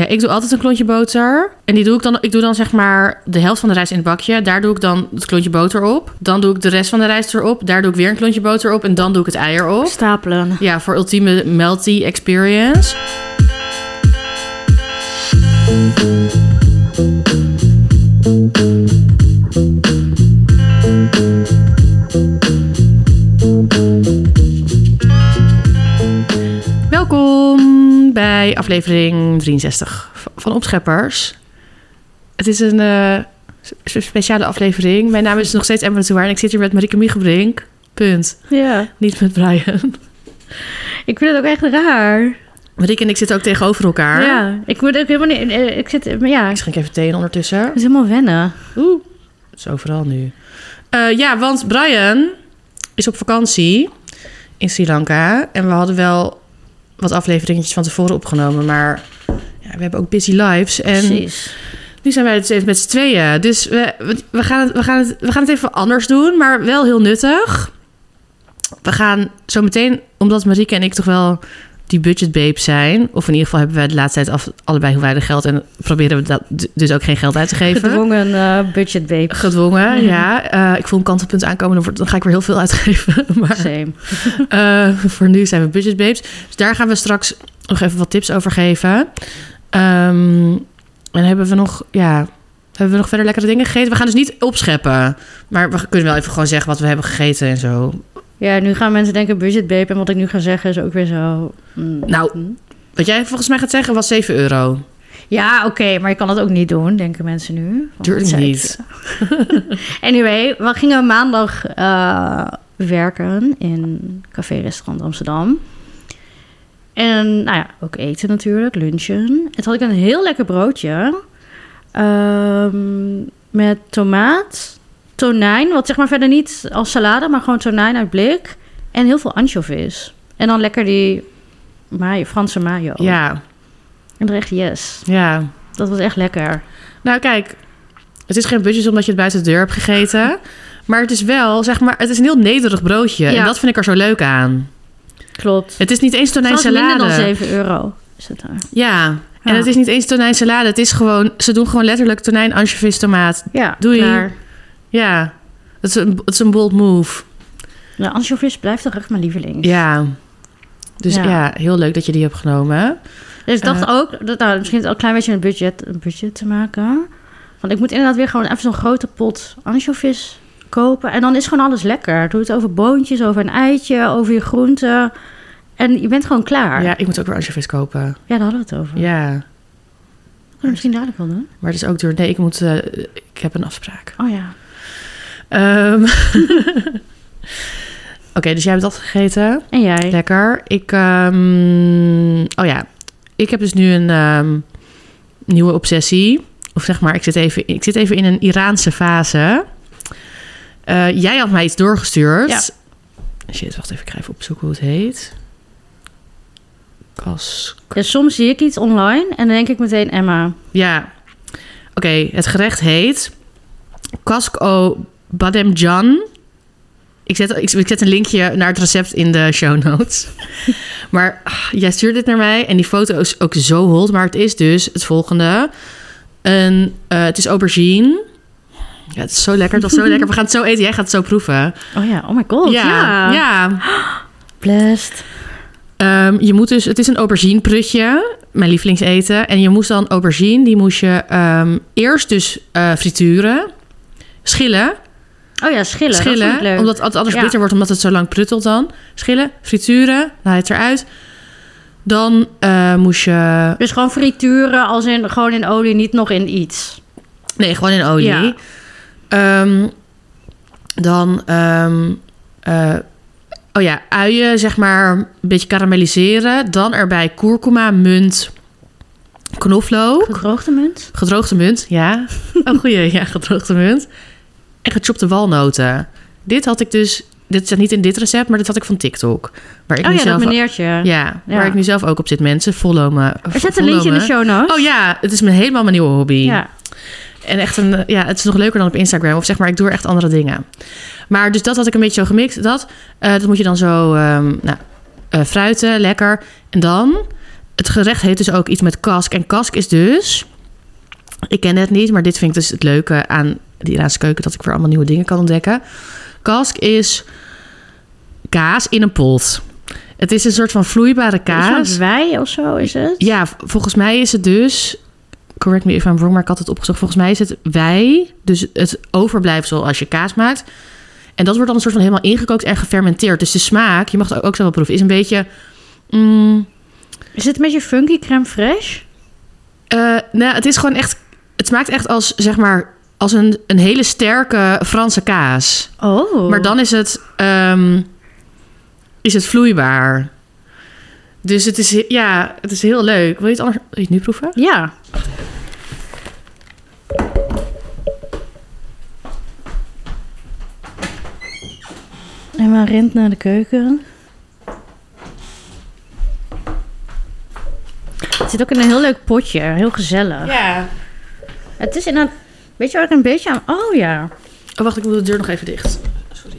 Ja, ik doe altijd een klontje boter. En die doe ik dan, ik doe dan zeg maar de helft van de rijst in het bakje. Daar doe ik dan het klontje boter op. Dan doe ik de rest van de rijst erop. Daar doe ik weer een klontje boter op. En dan doe ik het ei erop. Stapelen. Ja, voor ultieme melty experience. Welkom bij aflevering 63 van Opscheppers. Het is een eh, spe- speciale aflevering. Mijn naam is nog steeds Emma Toer en ik zit hier met Marieke Miegebrink. Punt. Ja. Niet met Brian. Ik vind het ook echt raar. Marieke en ik zitten ook tegenover elkaar. Ja. Ik moet ook helemaal niet... eh, Ik zit... Maar ja. Ik Het schenk even thee in ondertussen. is helemaal wennen. Oeh, het is overal nu. Eh, ja, want Brian is op vakantie in Sri Lanka. En we hadden wel wat afleveringetjes van tevoren opgenomen. Maar ja, we hebben ook busy lives. En Precies. nu zijn wij het even met z'n tweeën. Dus we, we- we, gaan het, we, gaan het, we gaan het even anders doen, maar wel heel nuttig. We gaan zo meteen, omdat Marieke en ik toch wel die budgetbabe zijn... of in ieder geval hebben wij de laatste tijd af, allebei hoe weinig geld... en proberen we dat, dus ook geen geld uit te geven. Gedwongen eh, budget babe. Gedwongen, Mhm. ja. Eh, ik voel een kantelpunt aankomen, dan, wordt- dan ga ik weer heel veel uitgeven. Maar Same. eh, voor nu zijn we budgetbabes. Dus daar gaan we straks nog even wat tips over geven. Ehm, en hebben we nog, ja, hebben we nog verder lekkere dingen gegeten? We gaan dus niet opscheppen. Maar we kunnen wel even gewoon zeggen wat we hebben gegeten en zo. Ja, nu gaan mensen denken budget babe. En wat ik nu ga zeggen is ook weer zo... mm, Nou. mm. Wat jij volgens mij gaat zeggen was 7 euro. Oh, Ja, oké. maar je kan dat ook niet doen, denken mensen nu. Want Tuurlijk het zijn- niet. Anyway, we gingen maandag eh, werken in café-restaurant Amsterdam. En nou ja, ook eten natuurlijk, lunchen. En toen had ik een heel lekker broodje ehm, met tomaat, tonijn, wat zeg maar verder niet als salade, maar gewoon tonijn uit blik. En heel veel anchovies. En dan lekker die mayo, Franse mayo. Ja, En dan echt yes. ja. Dat was echt lekker. Nou, kijk, het is geen budget omdat je het buiten de deur hebt gegeten. Maar het is wel, zeg maar, het is een heel nederig broodje. Ja. En dat vind ik er zo leuk aan. Klopt. Het is niet eens Het was minder dan tonijnsalade. 7 euro. Is het daar. Ja. En Ja. het is niet eens tonijnsalade. Het is gewoon, ze doen gewoon letterlijk tonijn, anchovies, tomaat. Ja, Doei. klaar. Ja. Het is een, het is een bold move. Nou, anchovies blijft toch echt mijn lieveling. Ja. Dus ja. Ja. heel leuk dat je die hebt genomen. Dus ik dacht ook, dat, nou, misschien al een klein beetje een budget, een budget te maken. Want ik moet inderdaad weer gewoon even zo'n grote pot anchovies kopen. En dan is gewoon alles lekker. Doe het over boontjes, over een eitje, over je groenten. En je bent gewoon klaar. Ja, Ja, ik moet ook weer anchovies kopen. daar hadden we het over. Ja. Kunnen we misschien dadelijk wel doen. Maar het is ook duur. Nee, ik moet, eh, ik heb een afspraak. Oh ja. Ehm. Oké, dus jij hebt dat gegeten. En jij? Lekker. Ik, ehm, oh ja, ik heb dus nu een ehm, nieuwe obsessie. Of zeg maar, ik zit even, ik zit even in een Iraanse fase. Eh, jij had mij iets doorgestuurd. Ja. Shit, wacht even, ik ga even opzoeken hoe het heet. Kas. Ja, soms zie ik iets online en dan denk ik meteen Emma. Ja. Oké, het gerecht heet Kasko Bademjan. Ik zet, ik, ik zet een linkje naar het recept in de show notes. maar ah, jij stuurt dit naar mij en die foto is ook zo hot. Maar het is dus het volgende. Een, eh, het is aubergine. Ja, het is zo lekker, dat is zo lekker. We gaan het zo eten, jij gaat het zo proeven. Oh ja, oh my god. Ja. ja. ja. Blessed. Ehm, je moet dus, het is een aubergine prutje, mijn lievelingseten. En je moest dan aubergine, die moest je ehm, eerst dus eh, frituren, schillen. Oh ja, schillen. dat vond ik leuk. omdat het anders Ja. bitter wordt, omdat het zo lang pruttelt dan. Schillen, frituren, dan haal je het eruit. Dan eh, moest je, Dus gewoon frituren als in gewoon in olie, niet nog in iets. nee, gewoon in olie. Ja. Ehm, dan, ehm, eh, oh ja, uien, zeg maar, een beetje karamelliseren. Dan erbij kurkuma, munt, knoflook. Gedroogde munt? Gedroogde munt, ja. Een goede, ja, gedroogde munt. En gechopte walnoten. Dit had ik dus, dit staat niet in dit recept, maar dit had ik van TikTok. Waar ik oh nu ja, dat zelf, meneertje. ja, waar Ja. ik nu zelf ook op zit, mensen. Follow me. Er zit een Follow linkje in me. de show notes. Oh ja, het is mijn, helemaal mijn nieuwe hobby. Ja. En echt een, eh, ja, het is nog leuker dan op Instagram. Of zeg maar, ik doe er echt andere dingen. Maar dus dat had ik een beetje zo gemixt. Dat, eh, dat moet je dan zo, ehm nou, eh, fruiten, lekker. En dan, eh, het gerecht heet dus ook iets met kask. En kask is dus... Ik ken het niet, maar dit vind ik dus het leuke aan de Iraanse keuken... dat ik weer allemaal nieuwe dingen kan ontdekken. Kask is kaas in een pot. Het is een soort van vloeibare kaas. Kaas? Wij of zo is het? Ja, v- volgens mij is het dus... Correct me if I'm wrong, maar ik had het opgezocht. Volgens mij is het wij, dus het overblijfsel als je kaas maakt. En dat wordt dan een soort van helemaal ingekookt en gefermenteerd. Dus de smaak, je mag het ook zo wel proeven, is een beetje... mm, Is het een beetje funky crème fraîche? eh, nou, ja, het is gewoon echt... Het smaakt echt als, zeg maar, als een, een hele sterke Franse kaas. Oh. Maar dan is het, ehm, is het vloeibaar. Dus het is, he- ja, het is heel leuk. Wil je het, anders, wil je het nu proeven? Ja. Emma rent naar de keuken. Het zit ook in een heel leuk potje. Heel gezellig. Ja. Het is in een... Weet je waar ik een beetje aan... Oh ja. Oh, wacht, ik moet de deur nog even dicht. Sorry.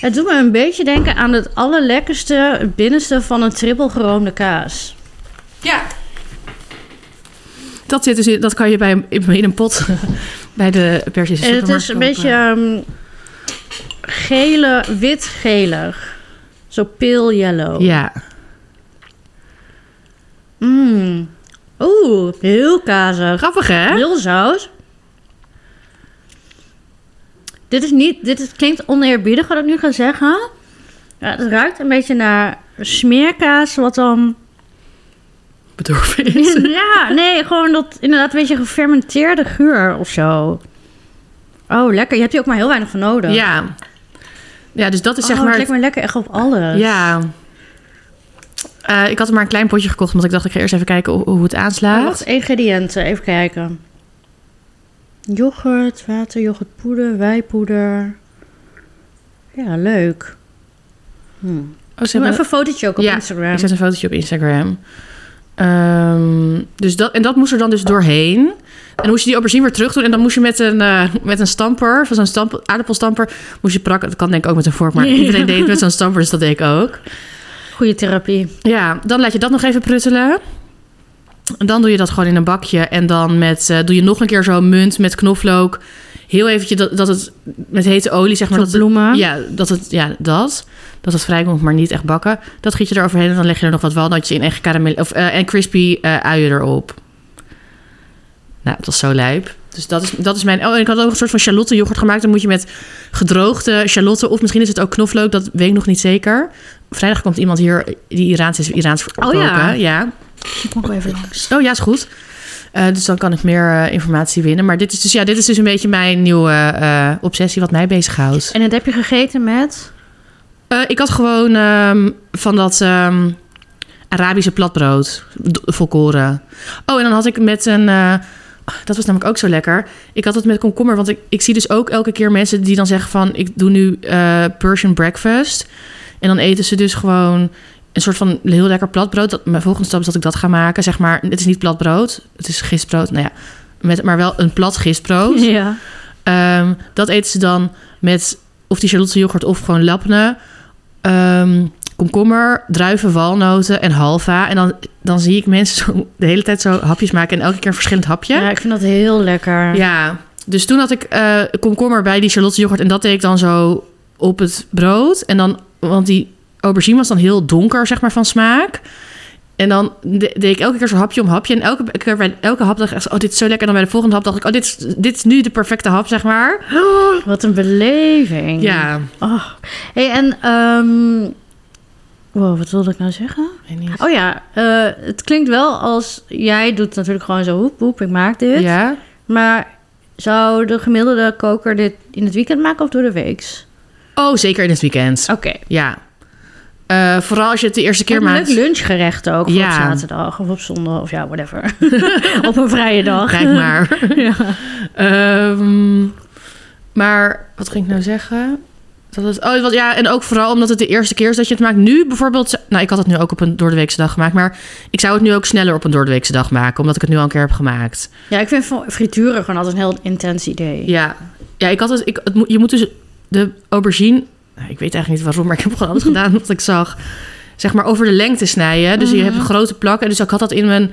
Het doet me een beetje denken aan het allerlekkerste, het binnenste van een trippelgeroomde kaas. Ja. Dat, zit dus in, dat kan je bij, een- in een pot bij de Persische En supermarkt het is een kopen. beetje ehm, gele, wit-gelig. Zo pale yellow. Ja. Mm. Oeh, heel kazig. Grappig, hè? Heel zout. Dit is niet, dit is, klinkt oneerbiedig wat ik nu ga zeggen. Ja, het ruikt een beetje naar smeerkaas, wat dan Bedorven is. ja, nee, gewoon dat inderdaad een beetje gefermenteerde geur of zo. Oh, lekker. Je hebt hier ook maar heel weinig van nodig. Ja. Ja, dus dat is Oh, zeg het maar... lijkt me lekker echt op alles. Ja. Eh, ik had er maar een klein potje gekocht, want ik dacht ik ga eerst even kijken hoe, hoe het Oh, aanslaat. wacht, ingrediënten. Even kijken. Yoghurt, water, yoghurtpoeder, wijpoeder. Ja, leuk. Hm. Oh, ze Doe hebben- even een fotootje ook op Ja, Instagram. Ik zet een fotootje op Instagram. Ehm, dus dat, en dat moest er dan dus doorheen. En dan moest je die aubergine weer terug doen. En dan moest je met een, eh, met een stamper, van zo'n stamp, aardappelstamper, moest je prakken. Dat kan denk ik ook met een vork, maar Ja. iedereen deed het met zo'n stamper, dus dat deed ik ook. Goede therapie. Ja, dan laat je dat nog even pruttelen. En dan doe je dat gewoon in een bakje. En dan met, eh, doe je nog een keer zo'n munt met knoflook. Heel eventjes dat, dat het met hete olie, zeg maar. Zo'n Dat het- bloemen. ja, dat het, ja, dat. Dat het vrijkomt, maar niet echt bakken. Dat giet je eroverheen en dan leg je er nog wat walnootjes in en, gecaramel, of, eh, en crispy eh, uien erop. Nou, dat was zo lijp. Dus dat is, dat is mijn... Oh, en ik had ook een soort van charlotte yoghurt gemaakt. Dan moet je met gedroogde charlotte... of misschien is het ook knoflook, dat weet ik nog niet zeker. Vrijdag komt iemand hier die Iraans is, Iraans Oh, koken. ja. ja. Ik kom ook even langs. Oh ja, is goed. Eh, dus dan kan ik meer eh, informatie winnen. Maar dit is, dus, ja, dit is dus een beetje mijn nieuwe eh, obsessie wat mij bezighoudt. En dat heb je gegeten met... Eh, ik had gewoon ehm, van dat ehm, Arabische platbrood, d- volkoren. Oh, en dan had ik met een... eh, dat was namelijk ook zo lekker. Ik had het met komkommer, want ik, ik zie dus ook elke keer mensen die dan zeggen van... ik doe nu eh, Persian breakfast. En dan eten ze dus gewoon een soort van heel lekker platbrood. Dat, mijn volgende stap is dat ik dat ga maken, zeg maar. Het is niet platbrood, het is gistbrood. Nou ja, met, maar wel een plat gistbrood. Ja. Ehm, dat eten ze dan met of die Charlotte yoghurt of gewoon lapne. Ehm, komkommer, druiven, walnoten en halva. En dan, dan zie ik mensen zo de hele tijd zo hapjes maken en elke keer een verschillend hapje. ja, ik vind dat heel lekker. Ja, dus toen had ik eh, komkommer bij die Charlotte yoghurt. En dat deed ik dan zo op het brood. En dan, want die aubergine was dan heel donker, zeg maar, van smaak. En dan de- deed ik elke keer zo hapje om hapje. En elke keer bij elke hap dacht ik echt, zo, oh, dit is zo lekker. En dan bij de volgende hap dacht ik, oh, dit is, dit is nu de perfecte hap, zeg maar. Wat een beleving. Ja. Oh. Hey, en... ehm, wow, wat wilde ik nou zeggen? Weet niet. Oh ja, eh, het klinkt wel als... Jij doet natuurlijk gewoon zo hoep, hoep, ik maak dit. Ja. Maar zou de gemiddelde koker dit in het weekend maken of door de weeks? Oh, zeker in het weekend. Oké. Ja. Eh, vooral als je het de eerste keer Een leuk maakt. lunchgerecht ook. voor Ja. Op zaterdag of op zondag of ja, whatever. op een vrije dag. Kijk maar. Ehm, maar wat ging ik nou zeggen? Dat het, oh, wat, ja, en ook vooral omdat het de eerste keer is dat je het maakt. Nu bijvoorbeeld... zou- Nou, ik had het nu ook op een doordeweekse dag gemaakt. Maar ik zou het nu ook sneller op een doordeweekse dag maken. Omdat ik het nu al een keer heb gemaakt. Ja, ik vind fr- frituren gewoon altijd een heel intens idee. Ja, ja ik had het, ik, het moet- je moet dus de aubergine... nou, ik weet eigenlijk niet waarom, maar ik heb gewoon alles gedaan wat ik zag. zeg maar over de lengte snijden. Dus je hebt Mhm. een grote plak. En dus ik had dat in mijn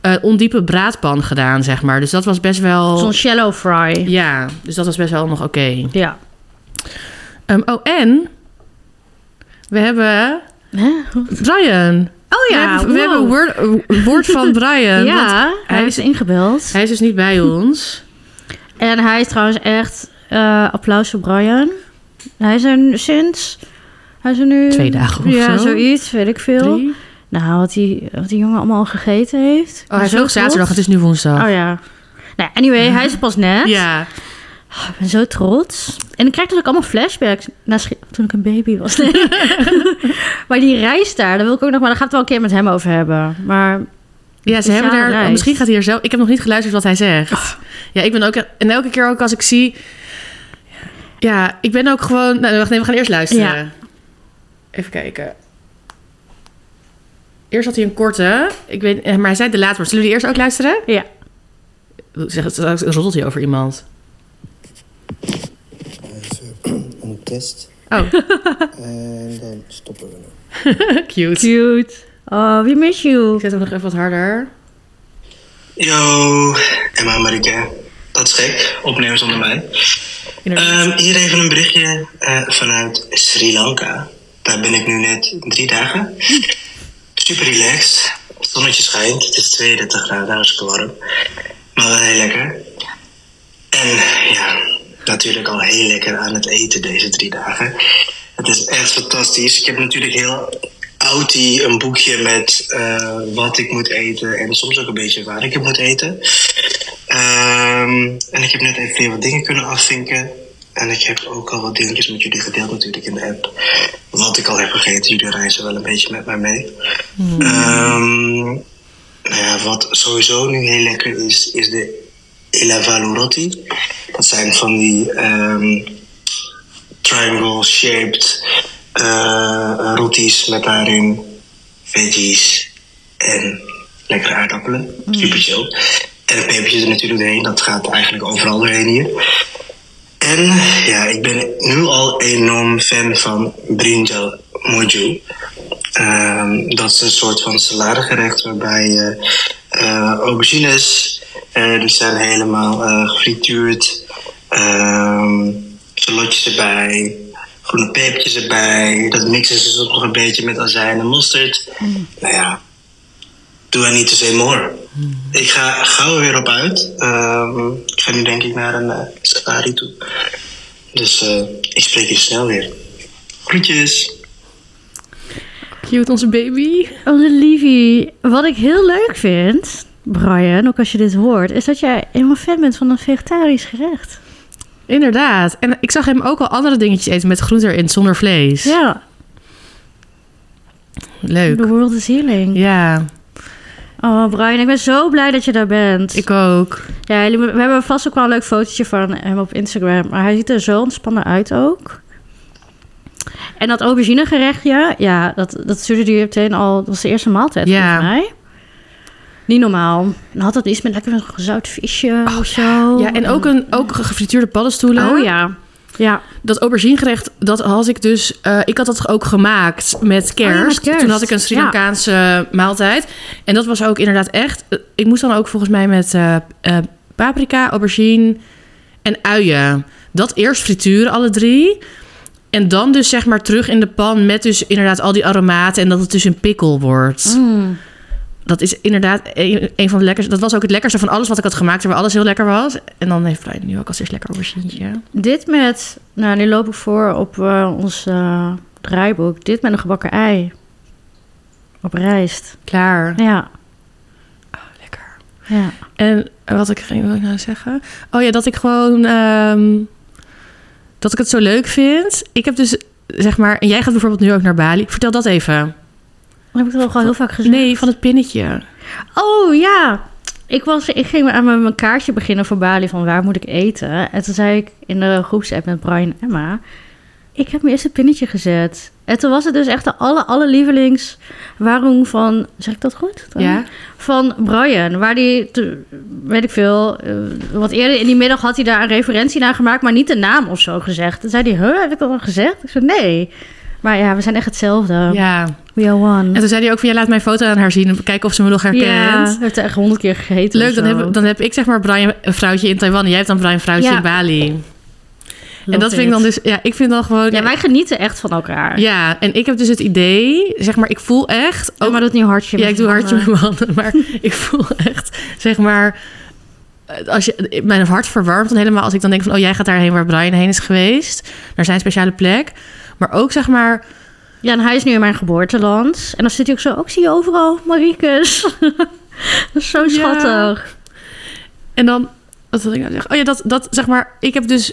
eh, ondiepe braadpan gedaan, zeg maar. Dus dat was best wel... Zo'n shallow fry. Ja, dus dat was best wel nog oké. Ja. Ehm, oh, en we hebben Hè? Brian. we Oh ja, hebben, we hebben wow. een woord, een woord van Brian. want ja, hij hij is ingebeld. Hij is dus niet bij ons. En hij is trouwens echt... eh, applaus voor Brian. Hij is er nu sinds... Hij is er nu... Twee dagen of ja, zo. zoiets. Weet ik veel. Drie. Nou, wat die, wat die jongen allemaal al gegeten heeft. Oh, hij Zo vloog zaterdag. trots. Het is nu woensdag. Oh ja. Nou, anyway, hij is er pas net. ja. Oh, ik ben zo trots. En ik krijg dus ook allemaal flashbacks naar Schi- toen ik een baby was. Nee. maar die reis daar, daar wil ik ook nog maar... Daar gaat het wel een keer met hem over hebben. Maar Ja, ze Speciale hebben daar. reis. Misschien gaat hij er zelf. Ik heb nog niet geluisterd wat hij zegt. Ja, ik ben ook. En elke keer ook als ik zie. Ja, ik ben ook gewoon. Nou, wacht, nee, we gaan eerst luisteren. Even kijken. Eerst had hij een korte. Ik weet, eh, maar hij zei de laatste. Zullen we die eerst ook luisteren? Ja. Zeg, straks roddelt hij over iemand. Dus, een test. Oh. En dan stoppen we nu. Cute. cute. Oh, we miss Ik you. zet hem nog even wat harder. Yo, Emma en Marike. Dat is gek, opnemen zonder mij. Inderdaad. Ehm, hier even een berichtje eh, vanuit Sri Lanka. Daar ben ik nu net drie dagen. Super relaxed. Het zonnetje schijnt. Het is 32 graden, hartstikke warm. Maar wel heel lekker. En ja, natuurlijk al heel lekker aan het eten deze drie dagen. Het is echt fantastisch. Ik heb natuurlijk heel outie een boekje met eh, wat ik moet eten en soms ook een beetje waar ik het moet eten. Ehm, en ik heb net even weer wat dingen kunnen afvinken. En ik heb ook al wat dingetjes met jullie gedeeld natuurlijk in de app. Wat ik al heb gegeten. Jullie reizen wel een beetje met mij mee. Ehm, nou ja, wat sowieso nu heel lekker is, is de Ilavaluroti. Dat zijn van die ehm, triangle-shaped eh roties met daarin veggies en lekkere aardappelen. Super chill. En een pepertje er natuurlijk doorheen. Dat gaat eigenlijk overal doorheen hier. En ja, ik ben nu al enorm fan van brinjal moju. Ehm, dat is een soort van saladegerecht waarbij je eh, aubergines, eh, die zijn helemaal eh, gefrituurd, ehm salotjes erbij, groene pepertjes erbij. Dat mixen ze soms nog een beetje met azijn en mosterd. Nou ja, do I need to say more? Ik ga gauw weer op uit. Ehm, ik ga nu denk ik naar een eh, safari toe. Dus eh, ik spreek je snel weer. Groetjes! Cute, onze baby. Onze liefie. Oh, Wat ik heel leuk vind, Brian, ook als je dit hoort... is dat jij helemaal fan bent van een vegetarisch gerecht. Inderdaad. En ik zag hem ook al andere dingetjes eten met groente erin zonder vlees. Ja, Leuk. the world is healing. Ja, Oh, Brian, ik ben zo blij dat je daar bent. ik ook. Ja, jullie- we hebben vast ook wel een leuk fotootje van hem op Instagram. Maar hij ziet er zo ontspannen uit ook. En dat auberginegerechtje, ja, dat, dat stuurde hij meteen al... Dat was de eerste maaltijd, Ja. volgens mij. Niet normaal. Dan had dat iets met lekker een gezout visje of zo. Oh, Ja, en ook, een, ook gefrituurde paddenstoelen. Oh ja. Ja. Dat auberginegerecht, dat had ik dus... eh, ik had dat ook gemaakt met kerst. Oh ja, met kerst. Toen had ik een Sri Ja. Lankaanse maaltijd. En dat was ook inderdaad echt... eh, Ik moest dan ook volgens mij met eh, eh, paprika, aubergine en uien. Dat eerst frituren, alle drie. En dan dus zeg maar terug in de pan met dus inderdaad al die aromaten... en dat het dus een pikkel wordt. Mm. Dat is inderdaad een, een van de lekkerste. Dat was ook het lekkerste van alles wat ik had gemaakt, waar alles heel lekker was. En dan heeft Brian nu ook als eerst lekker aubergine. Dit met... Nou, nu loop ik voor op eh, ons eh, draaiboek. Dit met een gebakken ei. Op rijst. Klaar. Ja. Lekker. Ja. En wat ik ging wil ik nou zeggen? Oh ja, dat ik gewoon ehm, dat ik het zo leuk vind. Ik heb dus zeg maar. En jij gaat bijvoorbeeld nu ook naar Bali. Vertel dat even. Dat heb ik toch ook al heel vaak gezien. Nee, van het pinnetje. Oh ja. Ik, was, ik ging aan mijn mijn kaartje beginnen voor Bali van waar moet ik eten. En toen zei ik in de groepsapp met Brian en Emma. Ik heb mijn eerste pinnetje gezet. En toen was het dus echt de alle, alle lievelings waarom van... Zeg ik dat goed? Ja. Van Brian. Waar die, te- weet ik veel... eh, wat eerder in die middag had hij daar een referentie naar gemaakt... maar niet de naam of zo gezegd. Toen zei hij, huh, heb ik dat al gezegd? Ik zei, nee. Maar ja, we zijn echt hetzelfde. Ja. We are one. En toen zei hij ook van, ja, laat mijn foto aan haar zien. en Kijken of ze me nog herkent. ja, we hebben er echt honderd keer gegeten. Leuk, of dan zo. heb, dan heb ik zeg maar Brian een vrouwtje in Taiwan. En jij hebt dan Brian een vrouwtje Ja. Oh. in Bali. Love en dat vind ik dan it. dus... Ja, ik vind dan gewoon... Ja, wij genieten echt van elkaar. Ja, en ik heb dus het idee... Zeg maar, ik voel echt... Oh, maar dat nu hartje. Ja, met ik doe z'n hartje met allen. mijn handen. Maar ik voel echt, zeg maar... eh, Als je, mijn hart verwarmt dan helemaal als ik dan denk van... oh, jij gaat daarheen waar Brian heen is geweest. Naar zijn speciale plek. Maar ook, zeg maar... Ja, en hij is nu in mijn geboorteland. En dan zit hij ook zo, ook zie je overal, Mariekes. dat is zo schattig. En dan... Wat wil ik nou zeggen? Oh ja, dat, dat zeg maar... Ik heb dus...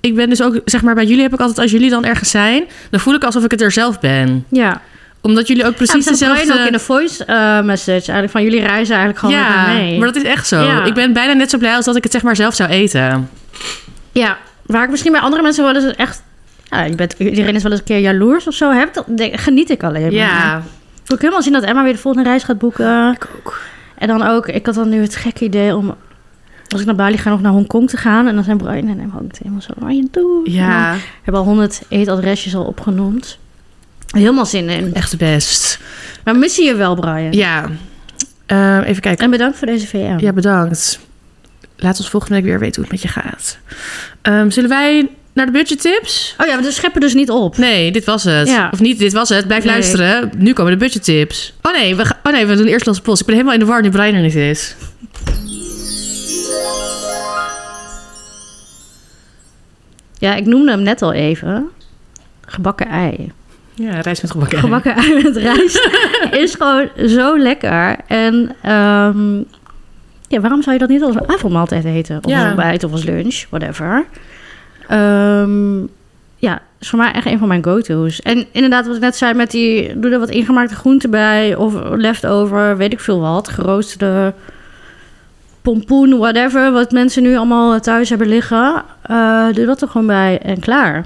Ik ben dus ook, zeg maar, bij jullie heb ik altijd... als jullie dan ergens zijn... dan voel ik alsof ik het er zelf ben. Ja. Omdat jullie ook precies ja, dat zei dezelfde... Brian ook in de voice eh, message eigenlijk van jullie reizen eigenlijk gewoon met ja, haar mee. maar dat is echt zo. Ja. Ik ben bijna net zo blij als dat ik het zeg maar zelf zou eten. Ja, waar ik misschien bij andere mensen wel eens echt... Ja, je bent, iedereen is wel eens een keer jaloers of zo. Heb, dat denk- geniet ik alleen maar. Ik wil helemaal zien dat Emma weer de volgende reis gaat boeken. Ik ook. En dan ook, ik had dan nu het gekke idee om... Als ik naar Bali ga, nog naar Hongkong te gaan. En dan zijn Brian en hem hangt helemaal zo... Wat je doet? En dan Ja, hebben al honderd eetadresjes al opgenoemd. Helemaal zin in. echt best. Maar missen je wel, Brian. Ja. Ehm, even kijken. En bedankt voor deze VM. Ja, bedankt. Laat ons volgende week weer weten hoe het met je gaat. Ehm, zullen wij naar de budgettips? Oh ja, we scheppen dus niet op. Nee, dit was het. Ja. Of niet, dit was het. Blijf Nee. luisteren. Nu komen de budgettips. Oh nee, we, ga- oh nee, we doen eerst Losse Post. Ik ben helemaal in de war nu Brian er niet is. Ja, ik noemde hem net al even. Gebakken ei. Ja, reis met gebakken. ei. Gebakken ei met rijst is gewoon zo lekker. En ehm, ja, waarom zou je dat niet als avondmaaltijd eten? Of Ja. als ontbijt of als lunch, whatever. Ehm, ja, is voor mij echt een van mijn go-to's. En inderdaad, wat ik net zei met die... Doe er wat ingemaakte groenten bij of leftover, weet ik veel wat. Geroosterde pompoen, whatever. Wat mensen nu allemaal thuis hebben liggen. Eh, doe dat er gewoon bij en klaar.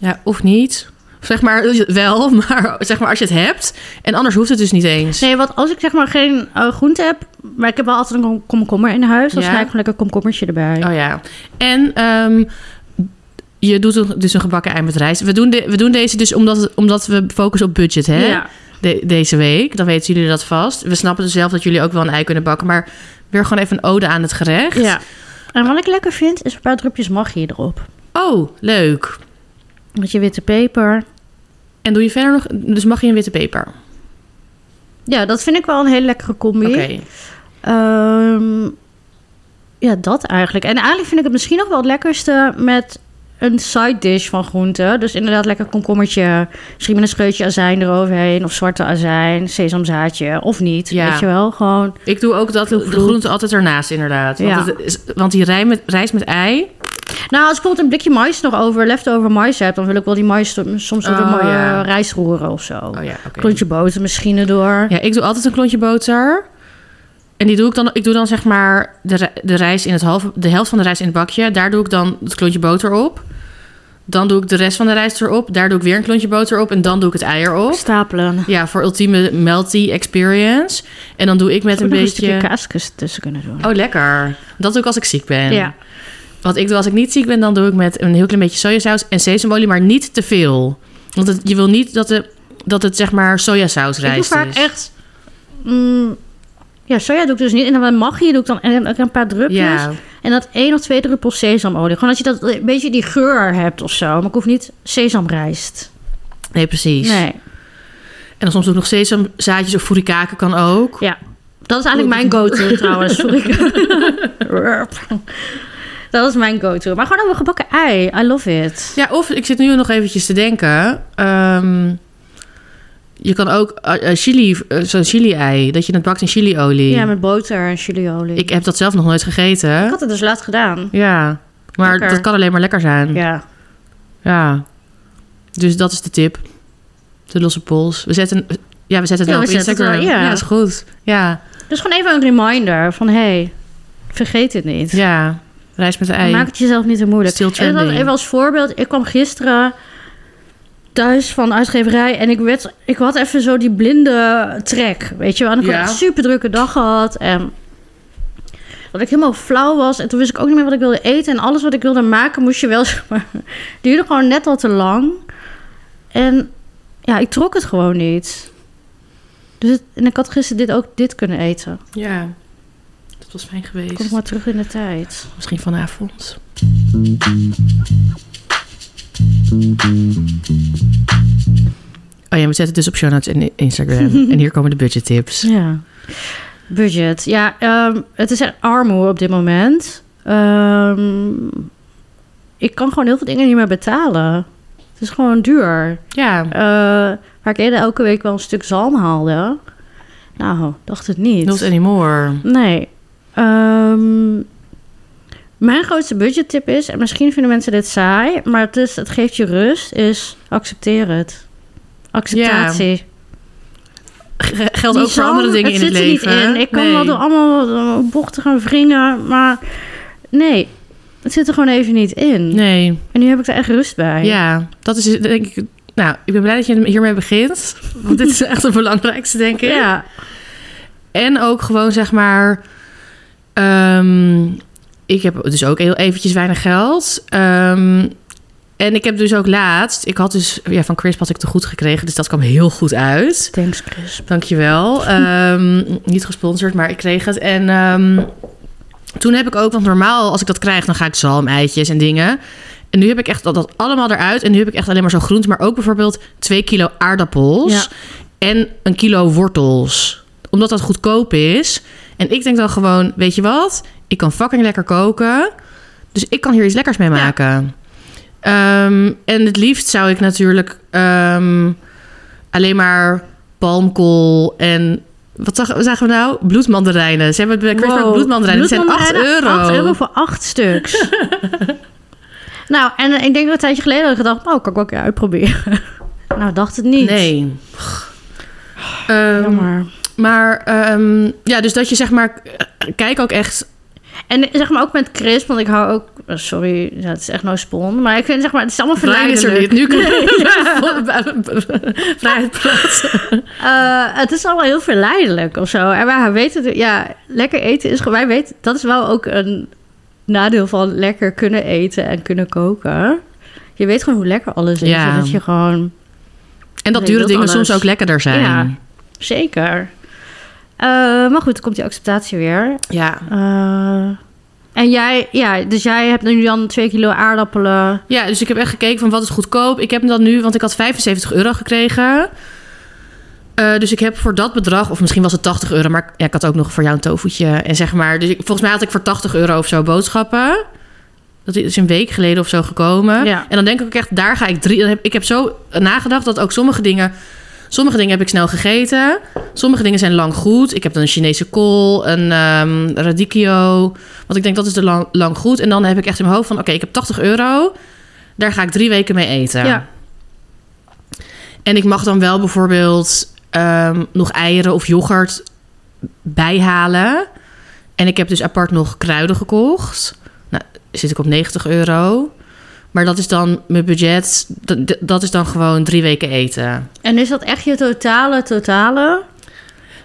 Ja, of niet. Of Zeg maar wel, maar zeg maar als je het hebt. En anders hoeft het dus niet eens. Nee, want als ik zeg maar geen eh, groente heb, maar ik heb wel altijd een kom- komkommer in huis, dan Ja. snij ik gewoon lekker een komkommertje erbij. Oh ja. En ehm, je doet een- dus een gebakken ei met rijst. We doen, de- we doen deze dus omdat, het- omdat we focussen op budget, hè? Ja. De- deze week. Dan weten jullie dat vast. We snappen dus zelf dat jullie ook wel een ei kunnen bakken. Maar weer gewoon even een ode aan het gerecht. ja. En wat ik lekker vind, is een paar drupjes magie erop. Oh, leuk. Met je witte peper. En doe je verder nog... Dus mag je een witte peper? Ja, dat vind ik wel een hele lekkere combi. Oké. Ehm, ja, dat eigenlijk. En eigenlijk vind ik het misschien nog wel het lekkerste met een side dish van groenten. Dus inderdaad lekker komkommertje, misschien met een scheutje azijn eroverheen... of zwarte azijn, sesamzaadje, of niet, Ja. weet je wel. Gewoon, Ik doe ook dat, de groente altijd ernaast, inderdaad. Want, Ja. het is- want die rij met, rijst met ei... Nou, als ik bijvoorbeeld een blikje mais nog over, leftover mais heb, dan wil ik wel die mais som- soms door de Oh, mooie ja. rijst roeren of zo. Oh ja, oké. Klontje boter misschien erdoor. Ja, ik doe altijd een klontje boter. En die doe ik dan, ik doe dan zeg maar de, ri- de, rijst in het halve, de helft van de rijst in het bakje. Daar doe ik dan het klontje boter op. Dan doe ik de rest van de rijst erop. Daar doe ik weer een klontje boter op. En dan doe ik het ei erop. Stapelen. Ja, voor ultieme melty experience. En dan doe ik met Met een een beetje... stukje kaaskus tussen kunnen doen. Oh, lekker. Dat doe ik als ik ziek ben. Ja. Wat ik doe als ik niet ziek ben, dan doe ik met een heel klein beetje sojasaus en sesamolie, maar niet te veel. Want het- je wil niet dat, de, dat het zeg maar sojasaus Ik rijst dus. doe vaak is. echt... mm, ja, soja doe ik dus niet. En dan met magie doe ik dan en ook een paar drupjes. Ja. En dat één of twee druppels sesamolie. Gewoon dat je dat eh, een beetje die geur hebt of zo. Maar ik hoef niet sesamrijst. Nee, precies. Nee. En dan soms ook nog sesamzaadjes of furikaken kan ook. Oh. Ja, dat is eigenlijk mijn go-to trouwens. Sorry. Rurp. dat is mijn go-to. Maar gewoon over gebakken ei. I love it. Ja, of ik zit nu nog eventjes te denken. ehm, je kan ook eh, eh, chili, eh, zo'n chili-ei, dat je het bakt in chiliolie. Ja, met boter en chiliolie. Ik Ik, heb dat zelf nog nooit gegeten. had het dus laatst gedaan. Ja, maar Lekker. dat kan alleen maar lekker zijn. Ja. Ja. Dus dat is de tip. De losse pols. We zetten, ja, we zetten het Ja, wel op we zetten het Instagram. wel, ja. dat is goed. Ja, Dus gewoon even een reminder van... hé, hey, vergeet dit niet. ja. Rijst met de ei. Maak het jezelf niet te moeilijk. Still en dan trending. even als voorbeeld. Ik kwam gisteren thuis van de uitgeverij en ik, werd, ik had even zo die blinde trek, weet je wel. En ik had Ja. echt een super drukke dag gehad en dat ik helemaal flauw was. En toen wist ik ook niet meer wat ik wilde eten en alles wat ik wilde maken moest je wel, zeg maar, duurde gewoon net al te lang. En ja, ik trok het gewoon niet. Dus het- en ik had gisteren dit ook dit kunnen eten. Ja, dat was fijn Kom ik geweest. maar terug in de tijd. Misschien vanavond. Oh ja, we zetten het dus op show notes en Instagram. en hier komen de budget tips. Ja. Budget. Ja, ehm, het is echt armoe op dit moment. Ehm, ik kan gewoon heel veel dingen niet meer betalen. Het is gewoon duur. Ja, Eh, waar ik eerder elke week wel een stuk zalm haalde. Nou, dacht het niet. not anymore. Nee. Ehm, mijn grootste budgettip is, en misschien vinden mensen dit saai, maar het, is, het geeft je rust, is accepteer het. Acceptatie. G- Geldt ook Die voor zalm, andere dingen in het zit er leven. Niet in. Ik kan Nee. wel door allemaal eh, bochten gaan wringen, maar nee, het zit er gewoon even niet in. Nee, En nu heb ik er echt rust bij. ja. Dat is denk ik... Nou, ik ben blij dat je hiermee begint. Want dit is echt het belangrijkste, denk ik. Ja. En ook gewoon zeg maar. ehm, ik heb dus ook heel eventjes weinig geld. Ehm, en ik heb dus ook laatst. Ik had dus. Ja, van Crisp had ik te goed gekregen. Dus dat kwam heel goed uit. Thanks, Chris. Dus, Dankjewel. Ehm niet gesponsord, maar ik kreeg het. En ehm, toen heb ik ook, want normaal als ik dat krijg, dan ga ik zalm, eitjes en dingen. En nu heb ik echt dat, dat allemaal eruit. En nu heb ik echt alleen maar zo groente, maar ook bijvoorbeeld twee kilo aardappels Ja. en een kilo wortels. Omdat dat goedkoop is. En ik denk dan gewoon, weet je wat? Ik kan fucking lekker koken. Dus ik kan hier iets lekkers mee maken. Ehm, en het liefst zou ik natuurlijk ehm, alleen maar palmkool en... Wat zag- zagen we nou? Bloedmandarijnen. Ze hebben bij Christmas Wow. bloedmandarijnen. Die zijn 8 Bloedmandarijnen, euro. 8 euro voor 8 stuks. nou, en eh, ik denk dat een tijdje geleden had ik gedacht, oh, kan ik ook een keer uitproberen. nou, dacht het niet. Nee. Ehm, Jammer. maar ehm, ja, dus dat je zeg maar... eh, Kijk ook echt... En eh, zeg maar ook met Chris, want ik hou ook... eh, Sorry, ja, het is echt no spon. Maar ik vind zeg maar, het is allemaal Brian is er verleidelijk. niet. Nu kunnen we vrijheid praten. Eh, het is allemaal heel verleidelijk of zo. En wij weten, ja, lekker eten is gewoon, wij weten, dat is wel ook een nadeel van lekker kunnen eten en kunnen koken. Je weet gewoon hoe lekker alles is. Ja. En dat je gewoon, En dat Nee, dure dat dingen alles. soms ook lekkerder zijn. Ja. zeker. Eh, maar goed, dan komt die acceptatie weer. ja. Eh, en jij, ja, dus jij hebt nu dan twee kilo aardappelen. Ja, dus ik heb echt gekeken van wat is goedkoop. Ik heb hem dan nu, want ik had 75 euro gekregen. Eh, dus ik heb voor dat bedrag, of misschien was het 80 euro, maar ja, ik had ook nog voor jou een tofu'tje. En zeg maar, dus ik, volgens mij had ik voor 80 euro of zo boodschappen. Dat is een week geleden of zo gekomen. Ja. En dan denk ik ook echt, daar ga ik drie. dan heb- ik heb zo nagedacht dat ook sommige dingen. Sommige dingen heb ik snel gegeten. Sommige dingen zijn lang goed. Ik heb dan een Chinese kool, een ehm radicchio. Want ik denk dat is de lang, lang goed. En dan heb ik echt in mijn hoofd van: oké, ik heb 80 euro. Daar ga ik drie weken mee eten. Ja. En ik mag dan wel bijvoorbeeld ehm, nog eieren of yoghurt bijhalen. En ik heb dus apart nog kruiden gekocht. Nou, zit ik op 90 euro. Maar dat is dan mijn budget. Dat, dat- dat is dan gewoon drie weken eten. En is dat echt je totale, totale?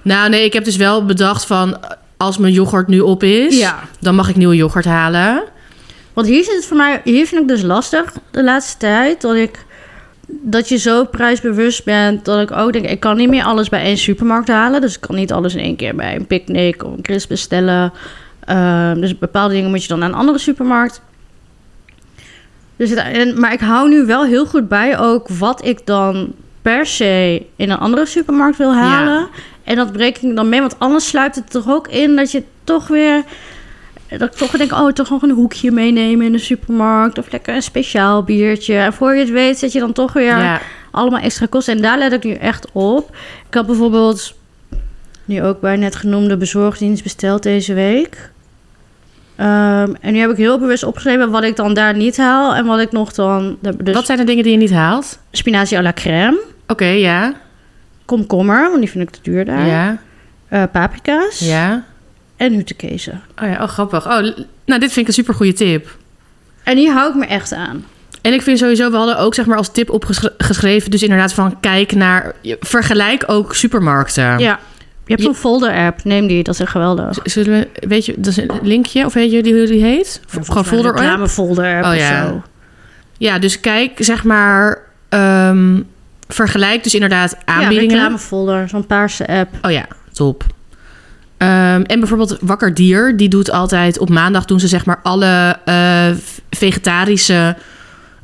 Nou, nee, ik heb dus wel bedacht van... als mijn yoghurt nu op is, dan mag ik nieuwe yoghurt halen. Want hier zit het voor mij, hier vind ik dus lastig de laatste tijd. Dat ik dat je zo prijsbewust bent dat ik ook denk, ik kan niet meer alles bij één supermarkt halen. Dus ik kan niet alles in één keer bij een picknick of een crisp bestellen. Ehm, dus bepaalde dingen moet je dan naar een andere supermarkt. Dus het, en, maar ik hou nu wel heel goed bij ook wat ik dan per se in een andere supermarkt wil halen. En dat breek ik dan mee, want anders sluipt het toch ook in dat je toch weer... Dat ik toch denk, oh, toch nog een hoekje meenemen in de supermarkt. Of lekker een speciaal biertje. En voor je het weet zet je dan toch weer Ja. allemaal extra kosten. En daar let ik nu echt op. Ik had bijvoorbeeld nu ook bij net genoemde bezorgdienst besteld deze week. Ehm, en nu heb ik heel bewust opgeschreven wat ik dan daar niet haal. En wat ik nog dan... Dus Wat zijn de dingen die je niet haalt? spinazie à la crème. Oké, ja. Komkommer, want die vind ik te duur daar. Ja. Eh, paprika's. Ja. En hutekezen. Oh ja, oh grappig. Oh, l- nou, dit vind ik een supergoeie tip. En die hou ik me echt aan. En ik vind sowieso, we hadden ook zeg maar als tip opgeschreven... dus inderdaad van kijk naar... je- vergelijk ook supermarkten. Ja. Je hebt Je- zo'n folder-app. Neem die, dat is echt geweldig. Z- Zullen we, weet je, dat is een linkje, of weet je die- hoe die heet? Of gewoon folder Oh Een reclamefolder-app Oh of ja. zo. Ja, dus kijk, zeg maar. ehm, vergelijk dus inderdaad Ja, aanbiedingen. reclamefolder, zo'n paarse app. Oh ja, top. Ehm, en bijvoorbeeld Wakker Dier, die doet altijd op maandag doen ze zeg maar alle eh, vegetarische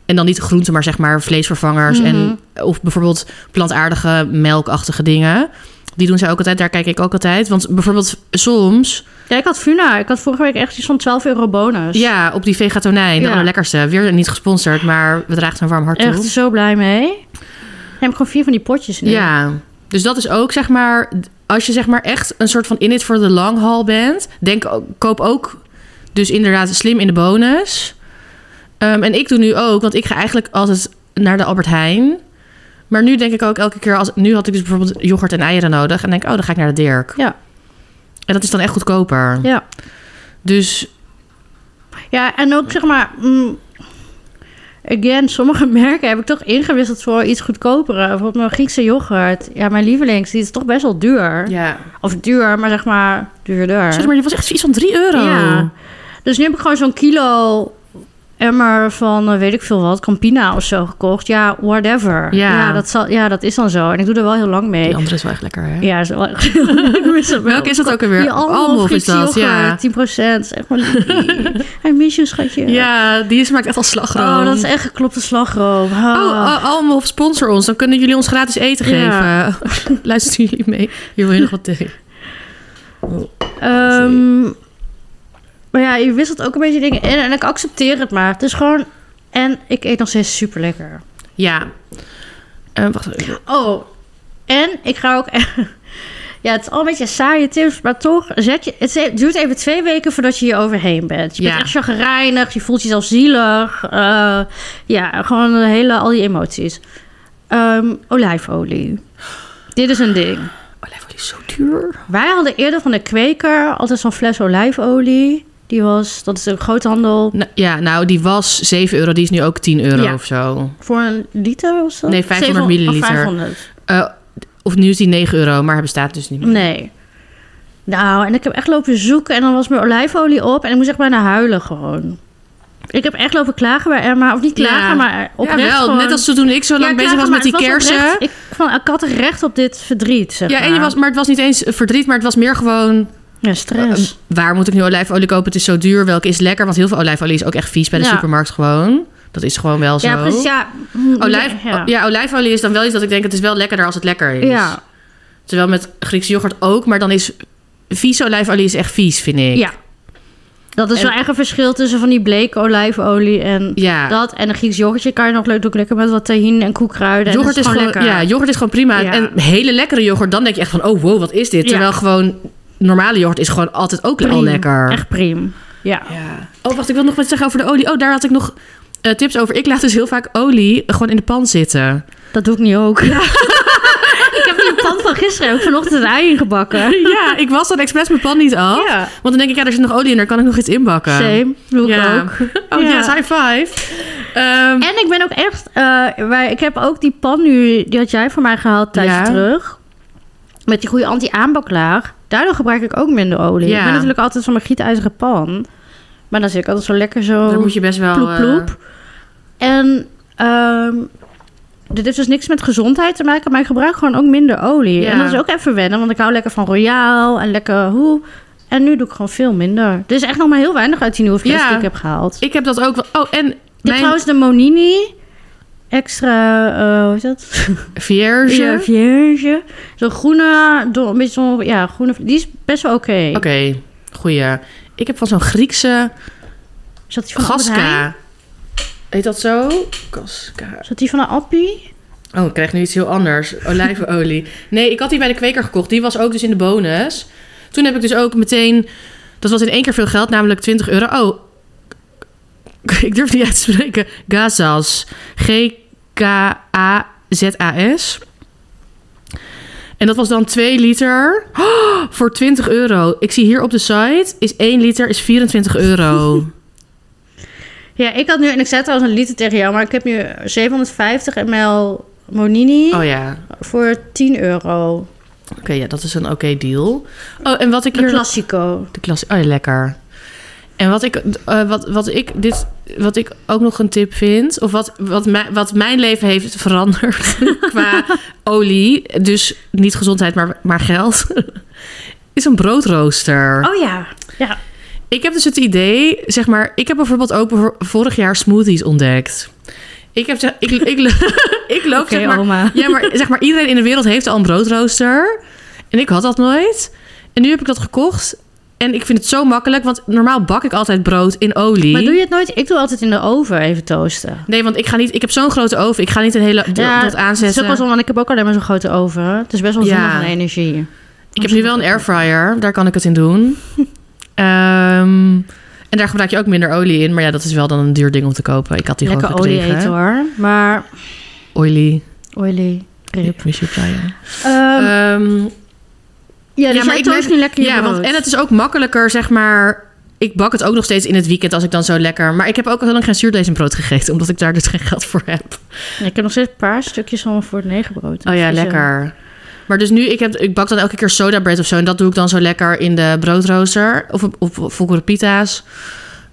en dan niet groenten, maar zeg maar vleesvervangers Mhm. en of bijvoorbeeld plantaardige melkachtige dingen. Die doen zij ook altijd, daar kijk ik ook altijd. Want bijvoorbeeld soms, Ja, ik had Funa. Ik had vorige week echt iets van 12 euro bonus. ja, op die vegatonijn, de Dus- Ja. allerlekkerste. Weer niet gesponsord, maar we dragen een warm hart toe. Echt zo blij mee. Daar heb ik gewoon vier van die potjes in. Ja, dus dat is ook zeg maar, als je zeg maar echt een soort van in it for the long haul bent, denk, ook- koop ook dus inderdaad slim in de bonus. Ehm, en ik doe nu ook, want ik ga eigenlijk altijd naar de Albert Heijn. Maar nu denk ik ook elke keer, als, nu had ik dus bijvoorbeeld yoghurt en eieren nodig. En denk, oh, dan ga ik naar de Dirk. Ja. En dat is dan echt goedkoper. Ja. Dus Ja, en ook zeg maar... mm, again, sommige merken heb ik toch ingewisseld voor iets goedkopere. Bijvoorbeeld mijn Griekse yoghurt. Ja, mijn lievelings, die is toch best wel duur. ja. Of duur, maar zeg maar duurder. Zeg maar, die was echt iets van 3 euro. Ja. Dus nu heb ik gewoon zo'n kilo emmer van eh, weet ik veel wat, Campina of zo gekocht. Ja, whatever. Ja. dat zal, ja, dat is dan zo. En ik doe er wel heel lang mee. Die andere is wel echt lekker, hè? Ja, is wel echt ik mis het wel. Welke is dat ook alweer? Die Almond is Friese dat, ja. yoghurt, 10 procent. Echt maar I miss you, schatje. Ja, die maakt echt al slagroom. Oh, dat is echt geklopt slagroom. Oh. Oh, oh, allemaal sponsor ons. Dan kunnen jullie ons gratis eten Ja. geven. Luisteren jullie mee? Hier wil je nog wat thee? Ehm, maar ja, je wisselt ook een beetje dingen in. En ik accepteer het maar. Het is gewoon... En ik eet nog steeds super lekker. Ja. Eh, wacht even. Oh, en ik ga ook. Ja, het is al een beetje saaie tips, maar toch zet je. Het duurt even twee weken voordat je hier overheen bent. Je Ja. bent echt chagrijnig, je voelt jezelf zielig. eh, ja, gewoon de hele, al die emoties. Ehm, olijfolie. Dit is een ding. Olijfolie is zo duur. Wij hadden eerder van de kweker altijd zo'n fles olijfolie. Die was, dat is een groothandel. Nou, ja, nou, die was 7 euro. Die is nu ook 10 euro Ja. of zo. Voor een liter of zo? Nee, 500 Zeven- milliliter. Of 500. Eh, of nu is die 9 euro, maar hij bestaat dus niet meer. Nee. Nou, en ik heb echt lopen zoeken en dan was mijn olijfolie op en ik moest echt bijna huilen gewoon. Ik heb echt lopen klagen bij Emma. Of niet klagen, Ja. maar oprecht ja, wel. gewoon. Net als toen ik zo lang Ja, bezig klagen, was maar met die het kersen. oprecht- ik, van, ik had recht op dit verdriet, zeg ja, en je maar. was, maar het was niet eens verdriet, maar het was meer gewoon... eh, Ja, stress. Waar moet ik nu olijfolie kopen? Het is zo duur. Welke is lekker? Want heel veel olijfolie is ook echt vies bij de Ja. supermarkt gewoon. Dat is gewoon wel zo. ja, precies. Ja, mm, Olijf, ja. ja. olijfolie is dan wel iets dat ik denk... het is wel lekkerder als het lekker is. Ja. Terwijl met Griekse yoghurt ook, maar dan is... vies olijfolie is echt vies, vind ik. Ja. Dat is En- wel echt een verschil tussen van die bleke olijfolie en Ja. dat. En een Grieks yoghurtje kan je nog leuk doen lekker met wat tahine en koekruiden. en yoghurt dat is gewoon, lekker. ja, yoghurt is gewoon prima. Ja. En hele lekkere yoghurt, dan denk je echt van... oh, wow, wat is dit? Ja. Terwijl gewoon normale yoghurt is gewoon altijd ook al Priem. lekker. Echt prima. Ja. Ja. Oh, wacht, ik wil nog wat zeggen over de olie. Oh, daar had ik nog eh, tips over. Ik laat dus heel vaak olie gewoon in de pan zitten. Dat doe ik nu ook. ik heb die pan van gisteren ook vanochtend een ei ingebakken. ja, ik was dan expres mijn pan niet af. Ja. Want dan denk ik, ja, er zit nog olie in, daar kan ik nog iets inbakken. Same, doe ik Ja. ook. Oh, Ja. yes, high five. Ehm, En ik ben ook echt... eh, wij- ik heb ook die pan nu, die had jij voor mij gehaald tijdens Ja. terug. Met die goede anti-aanbaklaag. Daardoor gebruik ik ook minder olie. Ja. Ik ben natuurlijk altijd van mijn gietijzige pan. Maar dan zit ik altijd zo lekker zo... Dan moet je best wel... Oh. ploep, eh, ploep. En ehm, dit heeft dus niks met gezondheid te maken, maar ik gebruik gewoon ook minder olie. Ja. En dat is ook even wennen, want ik hou lekker van royaal en lekker hoe. En nu doe ik gewoon veel minder. Er is echt nog maar heel weinig uit die nieuwe fles Ja. die ik heb gehaald. ik heb dat ook wel... Oh, en Dit mijn is trouwens de Monini extra, eh, hoe is dat? vierge. Ja, Vierge. Zo'n groene, do- een beetje zo'n, ja, groene. Die is best wel oké. Oké, goeie. Ik heb van zo'n Oh, Griekse Is dat die van Albert Heijn? gaska. Heet dat zo? Gaska. Is dat die van de Appie? Oh, ik krijg nu iets heel anders. Olijvenolie. Nee, ik had die bij de kweker gekocht. Die was ook dus in de bonus. Toen heb ik dus ook meteen... Dat was in één keer veel geld, namelijk 20 euro. Oh, ik durf het niet uit te spreken. Gazas. G-K-A-Z-A-S. En dat was dan 2 liter Oh, voor 20 euro. Ik zie hier op de site, is 1 liter is 24 euro. Ja, ik had nu, en ik zei trouwens een liter tegen jou, maar ik heb nu 750 ml Monini Oh ja, voor 10 euro. oké, ja, dat is een oké deal. Oh, en wat ik Een hier... Classico. De klas. Oh, ja, lekker. En wat ik, eh, wat, wat, ik dit, wat ik ook nog een tip vind, of wat, wat, mij, wat mijn leven heeft veranderd qua olie, dus niet gezondheid, maar, maar geld, is een broodrooster. Oh ja. Ja. Ik heb dus het idee, zeg maar, ik heb bijvoorbeeld ook bevo- vorig jaar smoothies ontdekt. Ik heb, zeg- ik, ik, lo- ik loop, Oké, oh, zeg maar, oma. ja, maar, zeg maar, iedereen in de wereld heeft al een broodrooster. En ik had dat nooit. En nu heb ik dat gekocht. En ik vind het zo makkelijk, want normaal bak ik altijd brood in olie. Maar doe je het nooit? Ik doe altijd in de oven even toasten. Nee, want ik ga niet. Ik heb zo'n grote oven. Ik ga niet een hele bro- dat Het is aanzetten. ook wel zo, want ik heb ook alleen maar zo'n grote oven. Het is best wel Ja. zonnig aan energie. Ik heb nu wel een airfryer. Daar kan ik het in doen. Ehm, en daar gebruik je ook minder olie in. Maar ja, dat is wel dan een duur ding om te kopen. Ik had die Lekker gewoon olie gekregen. eten hoor. Maar Oily. oily. Rip. Miss you, Brian. Ehm, Ehm, ja, dus maar jij ik toast merk- nu lekker je ja, want, brood. en het is ook makkelijker, zeg maar. Ik bak het ook nog steeds in het weekend als ik dan zo lekker. Maar ik heb ook al lang geen zuurdees en brood gegeten, omdat ik daar dus geen geld voor heb. Ik heb nog steeds een paar stukjes van voor het negenbrood. Oh ja, Dus, eh, lekker. Maar dus nu, ik, heb, ik bak dan elke keer soda bread of zo. En dat doe ik dan zo lekker in de broodrooster. Of op, op, op volkoren pita's.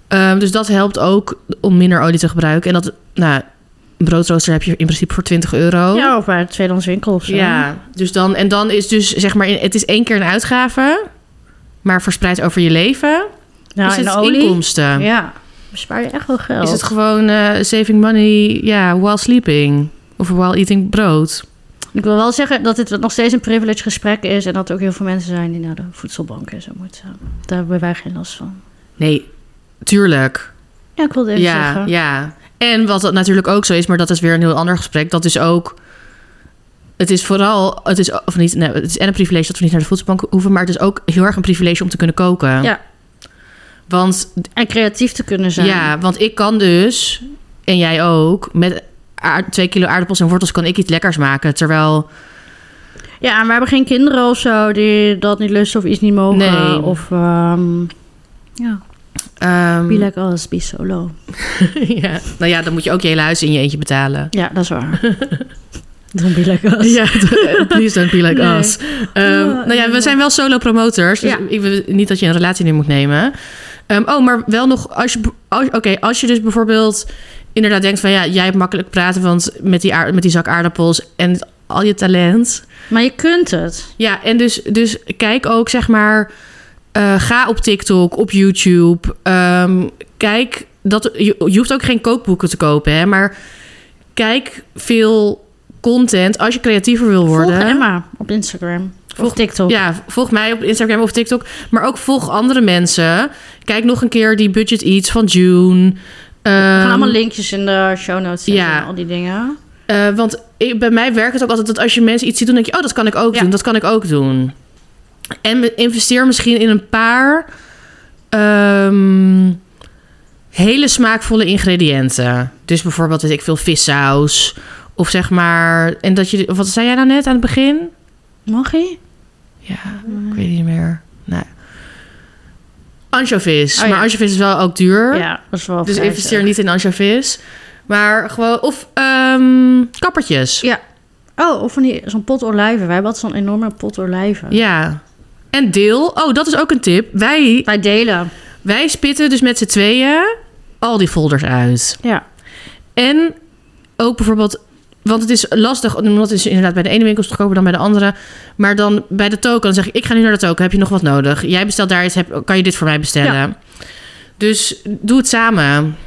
Ehm, dus dat helpt ook om minder olie te gebruiken. En dat, nou, een broodrooster heb je in principe voor 20 euro. Ja, of bij een tweedehands winkel of zo. Ja, dus dan, en dan is dus, zeg maar, het is één keer een uitgave. Maar verspreid over je leven. Nou, is en het olie. inkomsten. Ja, bespaar je echt wel geld. Is het gewoon eh, saving money ja, while sleeping? Of while eating brood? Ik wil wel zeggen dat dit nog steeds een privilege gesprek is... en dat er ook heel veel mensen zijn die naar de voedselbank en zo moeten. Daar hebben wij geen last van. Nee, tuurlijk. Ja, ik wilde even ja, zeggen. Ja, en wat dat natuurlijk ook zo is, maar dat is weer een heel ander gesprek. Dat is ook. Het is vooral, het is, of niet, nee, het is en een privilege dat we niet naar de voedselbank hoeven, maar het is ook heel erg een privilege om te kunnen koken. Ja. Want, En creatief te kunnen zijn. ja, want ik kan dus, en jij ook, met aard- twee kilo aardappels en wortels kan ik iets lekkers maken. Terwijl, ja, en we hebben geen kinderen of zo die dat niet lusten of iets niet mogen. Nee. Of ehm, Mm. ja, ehm, be like us, be solo. ja, nou ja, dan moet je ook je hele huis in je eentje betalen. Ja, dat is waar. Don't be like us. Ja, please don't be like Nee. us. Ehm, nou ja, we zijn wel solo promoters. Dus Ja. ik wil niet dat je een relatie nu moet nemen. Ehm, oh, maar wel nog, als je, als, oké, als je dus bijvoorbeeld inderdaad denkt van ja, jij hebt makkelijk praten, want met die, aard- met die zak aardappels en al je talent. Maar je kunt het. Ja, en dus, dus kijk ook zeg maar, eh, ga op TikTok, op YouTube. Ehm, kijk, dat, je, je hoeft ook geen kookboeken te kopen, hè, maar kijk veel content als je creatiever wil worden. Volg Emma op Instagram. Volg- of TikTok. Ja, volg mij op Instagram of TikTok. Maar ook volg andere mensen. Kijk nog een keer die Budget Eats van June. We gaan Ehm, allemaal linkjes in de show notes zetten ja. en al die dingen. eh, want ik- bij mij werkt het ook altijd dat als je mensen iets ziet doen... denk je, oh, dat kan ik ook Ja. doen, dat kan ik ook doen. En me- investeer misschien in een paar... ehm, hele smaakvolle ingrediënten. Dus bijvoorbeeld, weet ik veel, vissaus. Of zeg maar... En dat je, wat zei jij nou net aan het begin? Mag je? Ja, ik weet niet meer. Nee. Anchovies. Oh, ja. Maar anchovies is wel ook duur. Ja, dat is wel dus vrij investeer zeg. niet in anchovies. Maar gewoon... Of ehm, kappertjes. Ja. Ja. Oh, of van die, zo'n pot olijven. Wij hebben altijd zo'n enorme pot olijven. En deel. Oh, dat is ook een tip. Wij, Wij delen. wij spitten dus met z'n tweeën al die folders uit. Ja. En ook bijvoorbeeld... Want het is lastig, omdat het is inderdaad bij de ene winkel is goedkoper dan bij de andere. Maar dan bij de token, dan zeg ik, ik ga nu naar de token. Heb je nog wat nodig? Jij bestelt daar iets, heb, kan je dit voor mij bestellen? Dus doe het samen.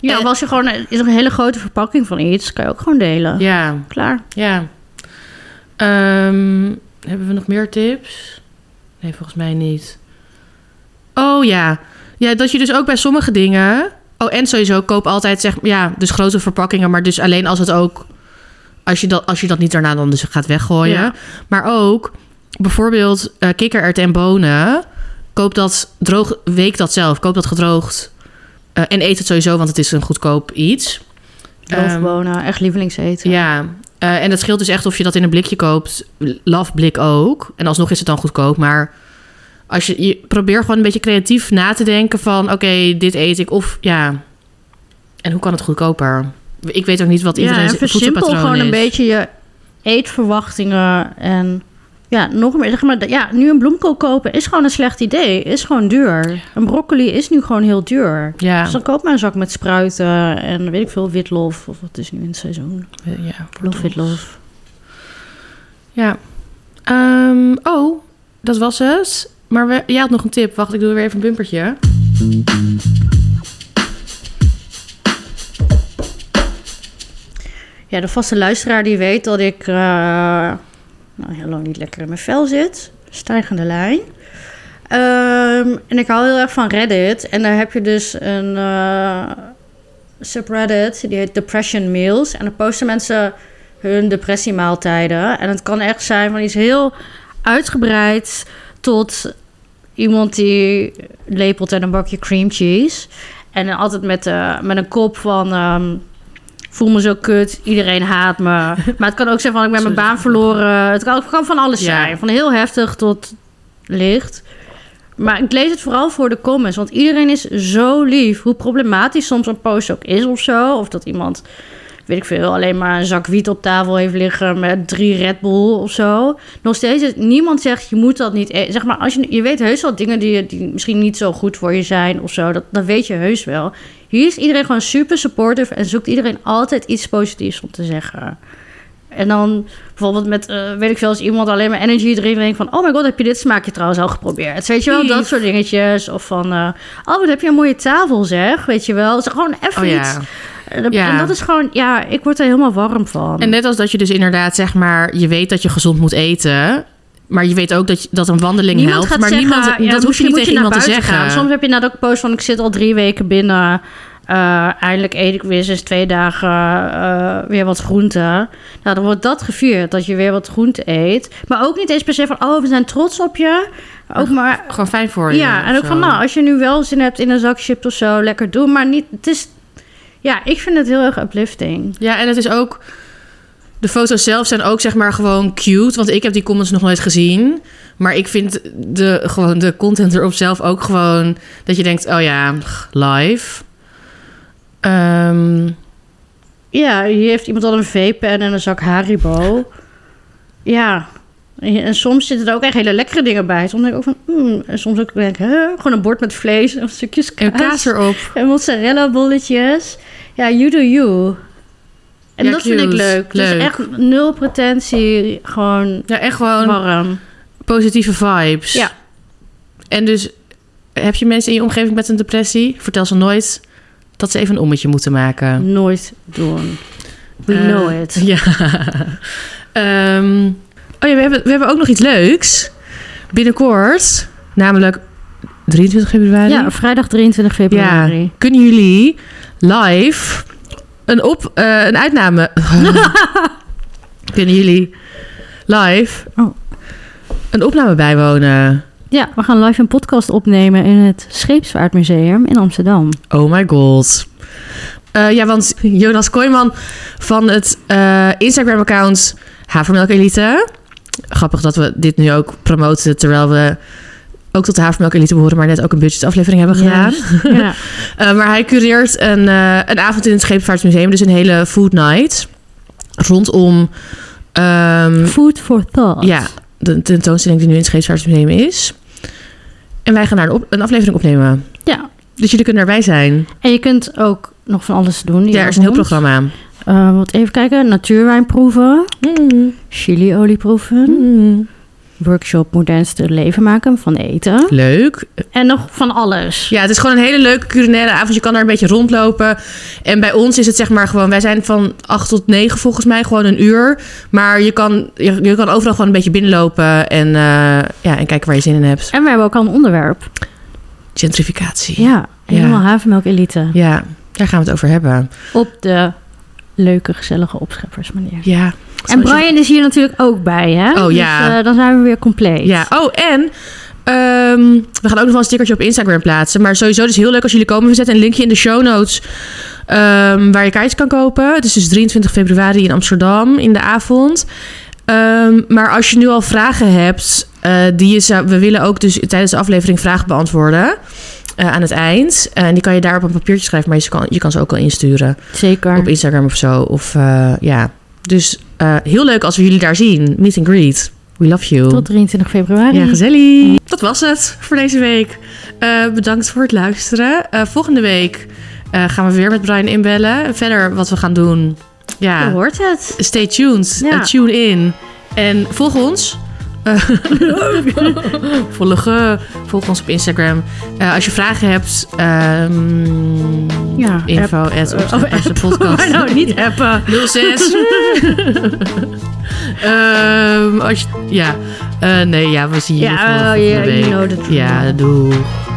Ja, En- of als je gewoon is er een hele grote verpakking van iets, kan je ook gewoon delen. Ja, Klaar. ja. Ehm, hebben we nog meer tips? Nee, volgens mij niet. Oh ja. Ja, dat je dus ook bij sommige dingen... Oh, en sowieso, koop altijd zeg, ja, dus grote verpakkingen. Maar dus alleen als het ook... Als je dat, als je dat niet daarna dan dus gaat weggooien. Ja. Maar ook bijvoorbeeld eh kikkererwten en bonen. Koop dat droog, week dat zelf. Koop dat gedroogd. Eh, en eet het sowieso, want het is een goedkoop iets. Ehm, Loofbonen, echt lievelingseten. Ja, eh, en dat scheelt dus echt of je dat in een blikje koopt. Love blik ook. En alsnog is het dan goedkoop. Maar als je, je probeer gewoon een beetje creatief na te denken van... oké, dit eet ik of ja. En hoe kan het goedkoper? Ik weet ook niet wat ja iedereen en versimpel gewoon een beetje je eetverwachtingen en Ja, nog meer. Zeg maar, dat- ja, nu een bloemkool kopen is gewoon een slecht idee. Is gewoon duur. Een broccoli is nu gewoon heel duur. Ja, Dus dan koop maar een zak met spruiten en weet ik veel, witlof. Of wat is nu in het seizoen? ja Lof, witlof. Ja. Ehm, oh, dat was het. Maar we, jij had nog een tip. Wacht, ik doe weer even een bumpertje. Ja, de vaste luisteraar die weet dat ik eh, nou, heel lang niet lekker in mijn vel zit. Stijgende lijn. Ehm, en ik hou heel erg van Reddit. En daar heb je dus een eh, subreddit, die heet Depression Meals. En dan posten mensen hun depressiemaaltijden. En het kan echt zijn van iets heel uitgebreid tot iemand die lepelt en een bakje cream cheese. En dan altijd met, eh, met een kop van... ehm, voel me zo kut, iedereen haat me. Maar het kan ook zijn van ik ben mijn baan verloren. Het kan, het kan van alles Ja. zijn. Van heel heftig tot licht. Maar ik lees het vooral voor de comments. Want iedereen is zo lief. Hoe problematisch soms een post ook is of zo. Of dat iemand, weet ik veel, alleen maar een zak wiet op tafel heeft liggen met drie Red Bull of zo. Nog steeds, is- niemand zegt je moet dat niet eten. Zeg maar, als je, je weet heus wel dingen die, die misschien niet zo goed voor je zijn of zo. Dat, dat weet je heus wel. Hier is iedereen gewoon super supportive en zoekt iedereen altijd iets positiefs om te zeggen. En dan bijvoorbeeld met, eh, weet ik veel, als iemand alleen maar energy drinkt, dan denk ik van, oh my god, heb je dit smaakje trouwens al geprobeerd? Weet je wel, dat Lief. soort dingetjes. Of van, eh, oh, wat heb je een mooie tafel, zeg. Weet je wel, zeg gewoon even Oh iets. ja. En Eh, dat- Ja. En dat is gewoon, ja, ik word er helemaal warm van. En net als dat je dus inderdaad, zeg maar, je weet dat je gezond moet eten. Maar je weet ook dat, je- dat een wandeling helpt. maar niemand, ja, dat hoef je misschien niet moet tegen naar iemand te buiten zeggen. gaan. Soms heb je na dat post van ik zit al drie weken binnen. eh, eindelijk eet ik weer sinds twee dagen eh, weer wat groente. Nou, dan wordt dat gevierd, dat je weer wat groente eet. Maar ook niet eens per se van, oh, we zijn trots op je. Ook maar, Gewoon fijn voor je. ja, en ook zo. van, nou, als je nu wel zin hebt in een zak chips of zo, lekker doen. Maar niet, het is, ja, ik vind het heel erg uplifting. Ja, en het is ook... De foto's zelf zijn ook zeg maar gewoon cute. Want ik heb die comments nog nooit gezien. Maar ik vind de, gewoon de content erop zelf ook gewoon... Dat je denkt, oh ja, live. Ehm, Ja, hier heeft iemand al een vapen en een zak Haribo. Ja. En soms zitten er ook echt hele lekkere dingen bij. Soms denk ik ook van... mm, En soms ook denk ik... hè, Gewoon een bord met vlees en stukjes kaas. en kaas erop. En mozzarella bolletjes. Ja, you do you. En Ja, dat vind ik cute. leuk. Leuk. Dus echt nul pretentie. Gewoon Ja, echt gewoon warm. positieve vibes. Ja. En dus heb je mensen in je omgeving met een depressie? Vertel ze nooit dat ze even een ommetje moeten maken. Nooit doen. We Eh, know it. Ja. Ehm, oh ja, we hebben, we hebben ook nog iets leuks. Binnenkort, namelijk 23 februari. Ja, vrijdag 23 februari. Ja, kunnen jullie live een, op, eh, een uitname... kunnen jullie live Oh. een opname bijwonen? Ja, we gaan live een podcast opnemen in het Scheepsvaartmuseum in Amsterdam. Oh my god. Eh, ja, want Jonas Kooijman van het eh, Instagram-account Havermelk Elite. Grappig dat we dit nu ook promoten terwijl we ook tot de Havermelk Elite behoren, maar net ook een budgetaflevering hebben gedaan. Juist, Ja. Eh, maar hij cureert een, eh, een avond in het Scheepvaartmuseum, dus een hele food night rondom ehm, Food for thought. ja, de tentoonstelling die nu in het Scheepvaartmuseum is. En wij gaan daar een, op- een aflevering opnemen. Ja. Dus jullie kunnen erbij zijn. En je kunt ook nog van alles doen. die Ja, er is een heel avond. programma. Eh, want even kijken. Natuurwijn proeven. Mm. Chiliolie proeven. Workshop modernste leven maken van eten. Leuk. En nog van alles. Ja, het is gewoon een hele leuke culinaire avond. Je kan daar een beetje rondlopen. En bij ons is het zeg maar gewoon... Wij zijn van 8 tot 9 volgens mij, gewoon een uur. Maar je kan, je, je kan overal gewoon een beetje binnenlopen... en, eh, ja, en kijken waar je zin in hebt. En we hebben ook al een onderwerp. Gentrificatie. Ja. Ja, helemaal havenmelk elite. daar gaan we het over hebben. Op de leuke, gezellige opscheppersmanier. Ja. En Brian is hier natuurlijk ook bij, hè? Oh, ja. Dus, eh, dan zijn we weer compleet. Ja, oh en... ehm, we gaan ook nog wel een stickertje op Instagram plaatsen. Maar sowieso, dus heel leuk als jullie komen. We zetten een linkje in de show notes ehm, waar je kaartjes kan kopen. Het is dus 23 februari in Amsterdam in de avond. Ehm, maar als je nu al vragen hebt, eh, die je zou, we willen ook dus tijdens de aflevering vragen beantwoorden eh, aan het eind. Eh, en die kan je daar op een papiertje schrijven, maar je kan, je kan ze ook al insturen Zeker. op Instagram of zo. Of eh, ja, dus eh, heel leuk als we jullie daar zien. Meet and greet. We love you. Tot 23 februari. Ja, gezellig. Dat was het voor deze week. Eh, bedankt voor het luisteren. Eh, volgende week eh, gaan we weer met Brian inbellen. Verder wat we gaan doen. Je Ja, hoort het. stay tuned. Ja. Eh, tune in. En volg ons. Eh, volg, eh, volg ons op Instagram. Eh, als je vragen hebt, ehm Ja, info at Opsnappers, de podcast. Oh, nou, niet appen. 06. Ehm als je, ja, Eh, nee, ja, we zien je Ja, gewoon oh, volgende yeah, you week. know the drill. ja, doeg.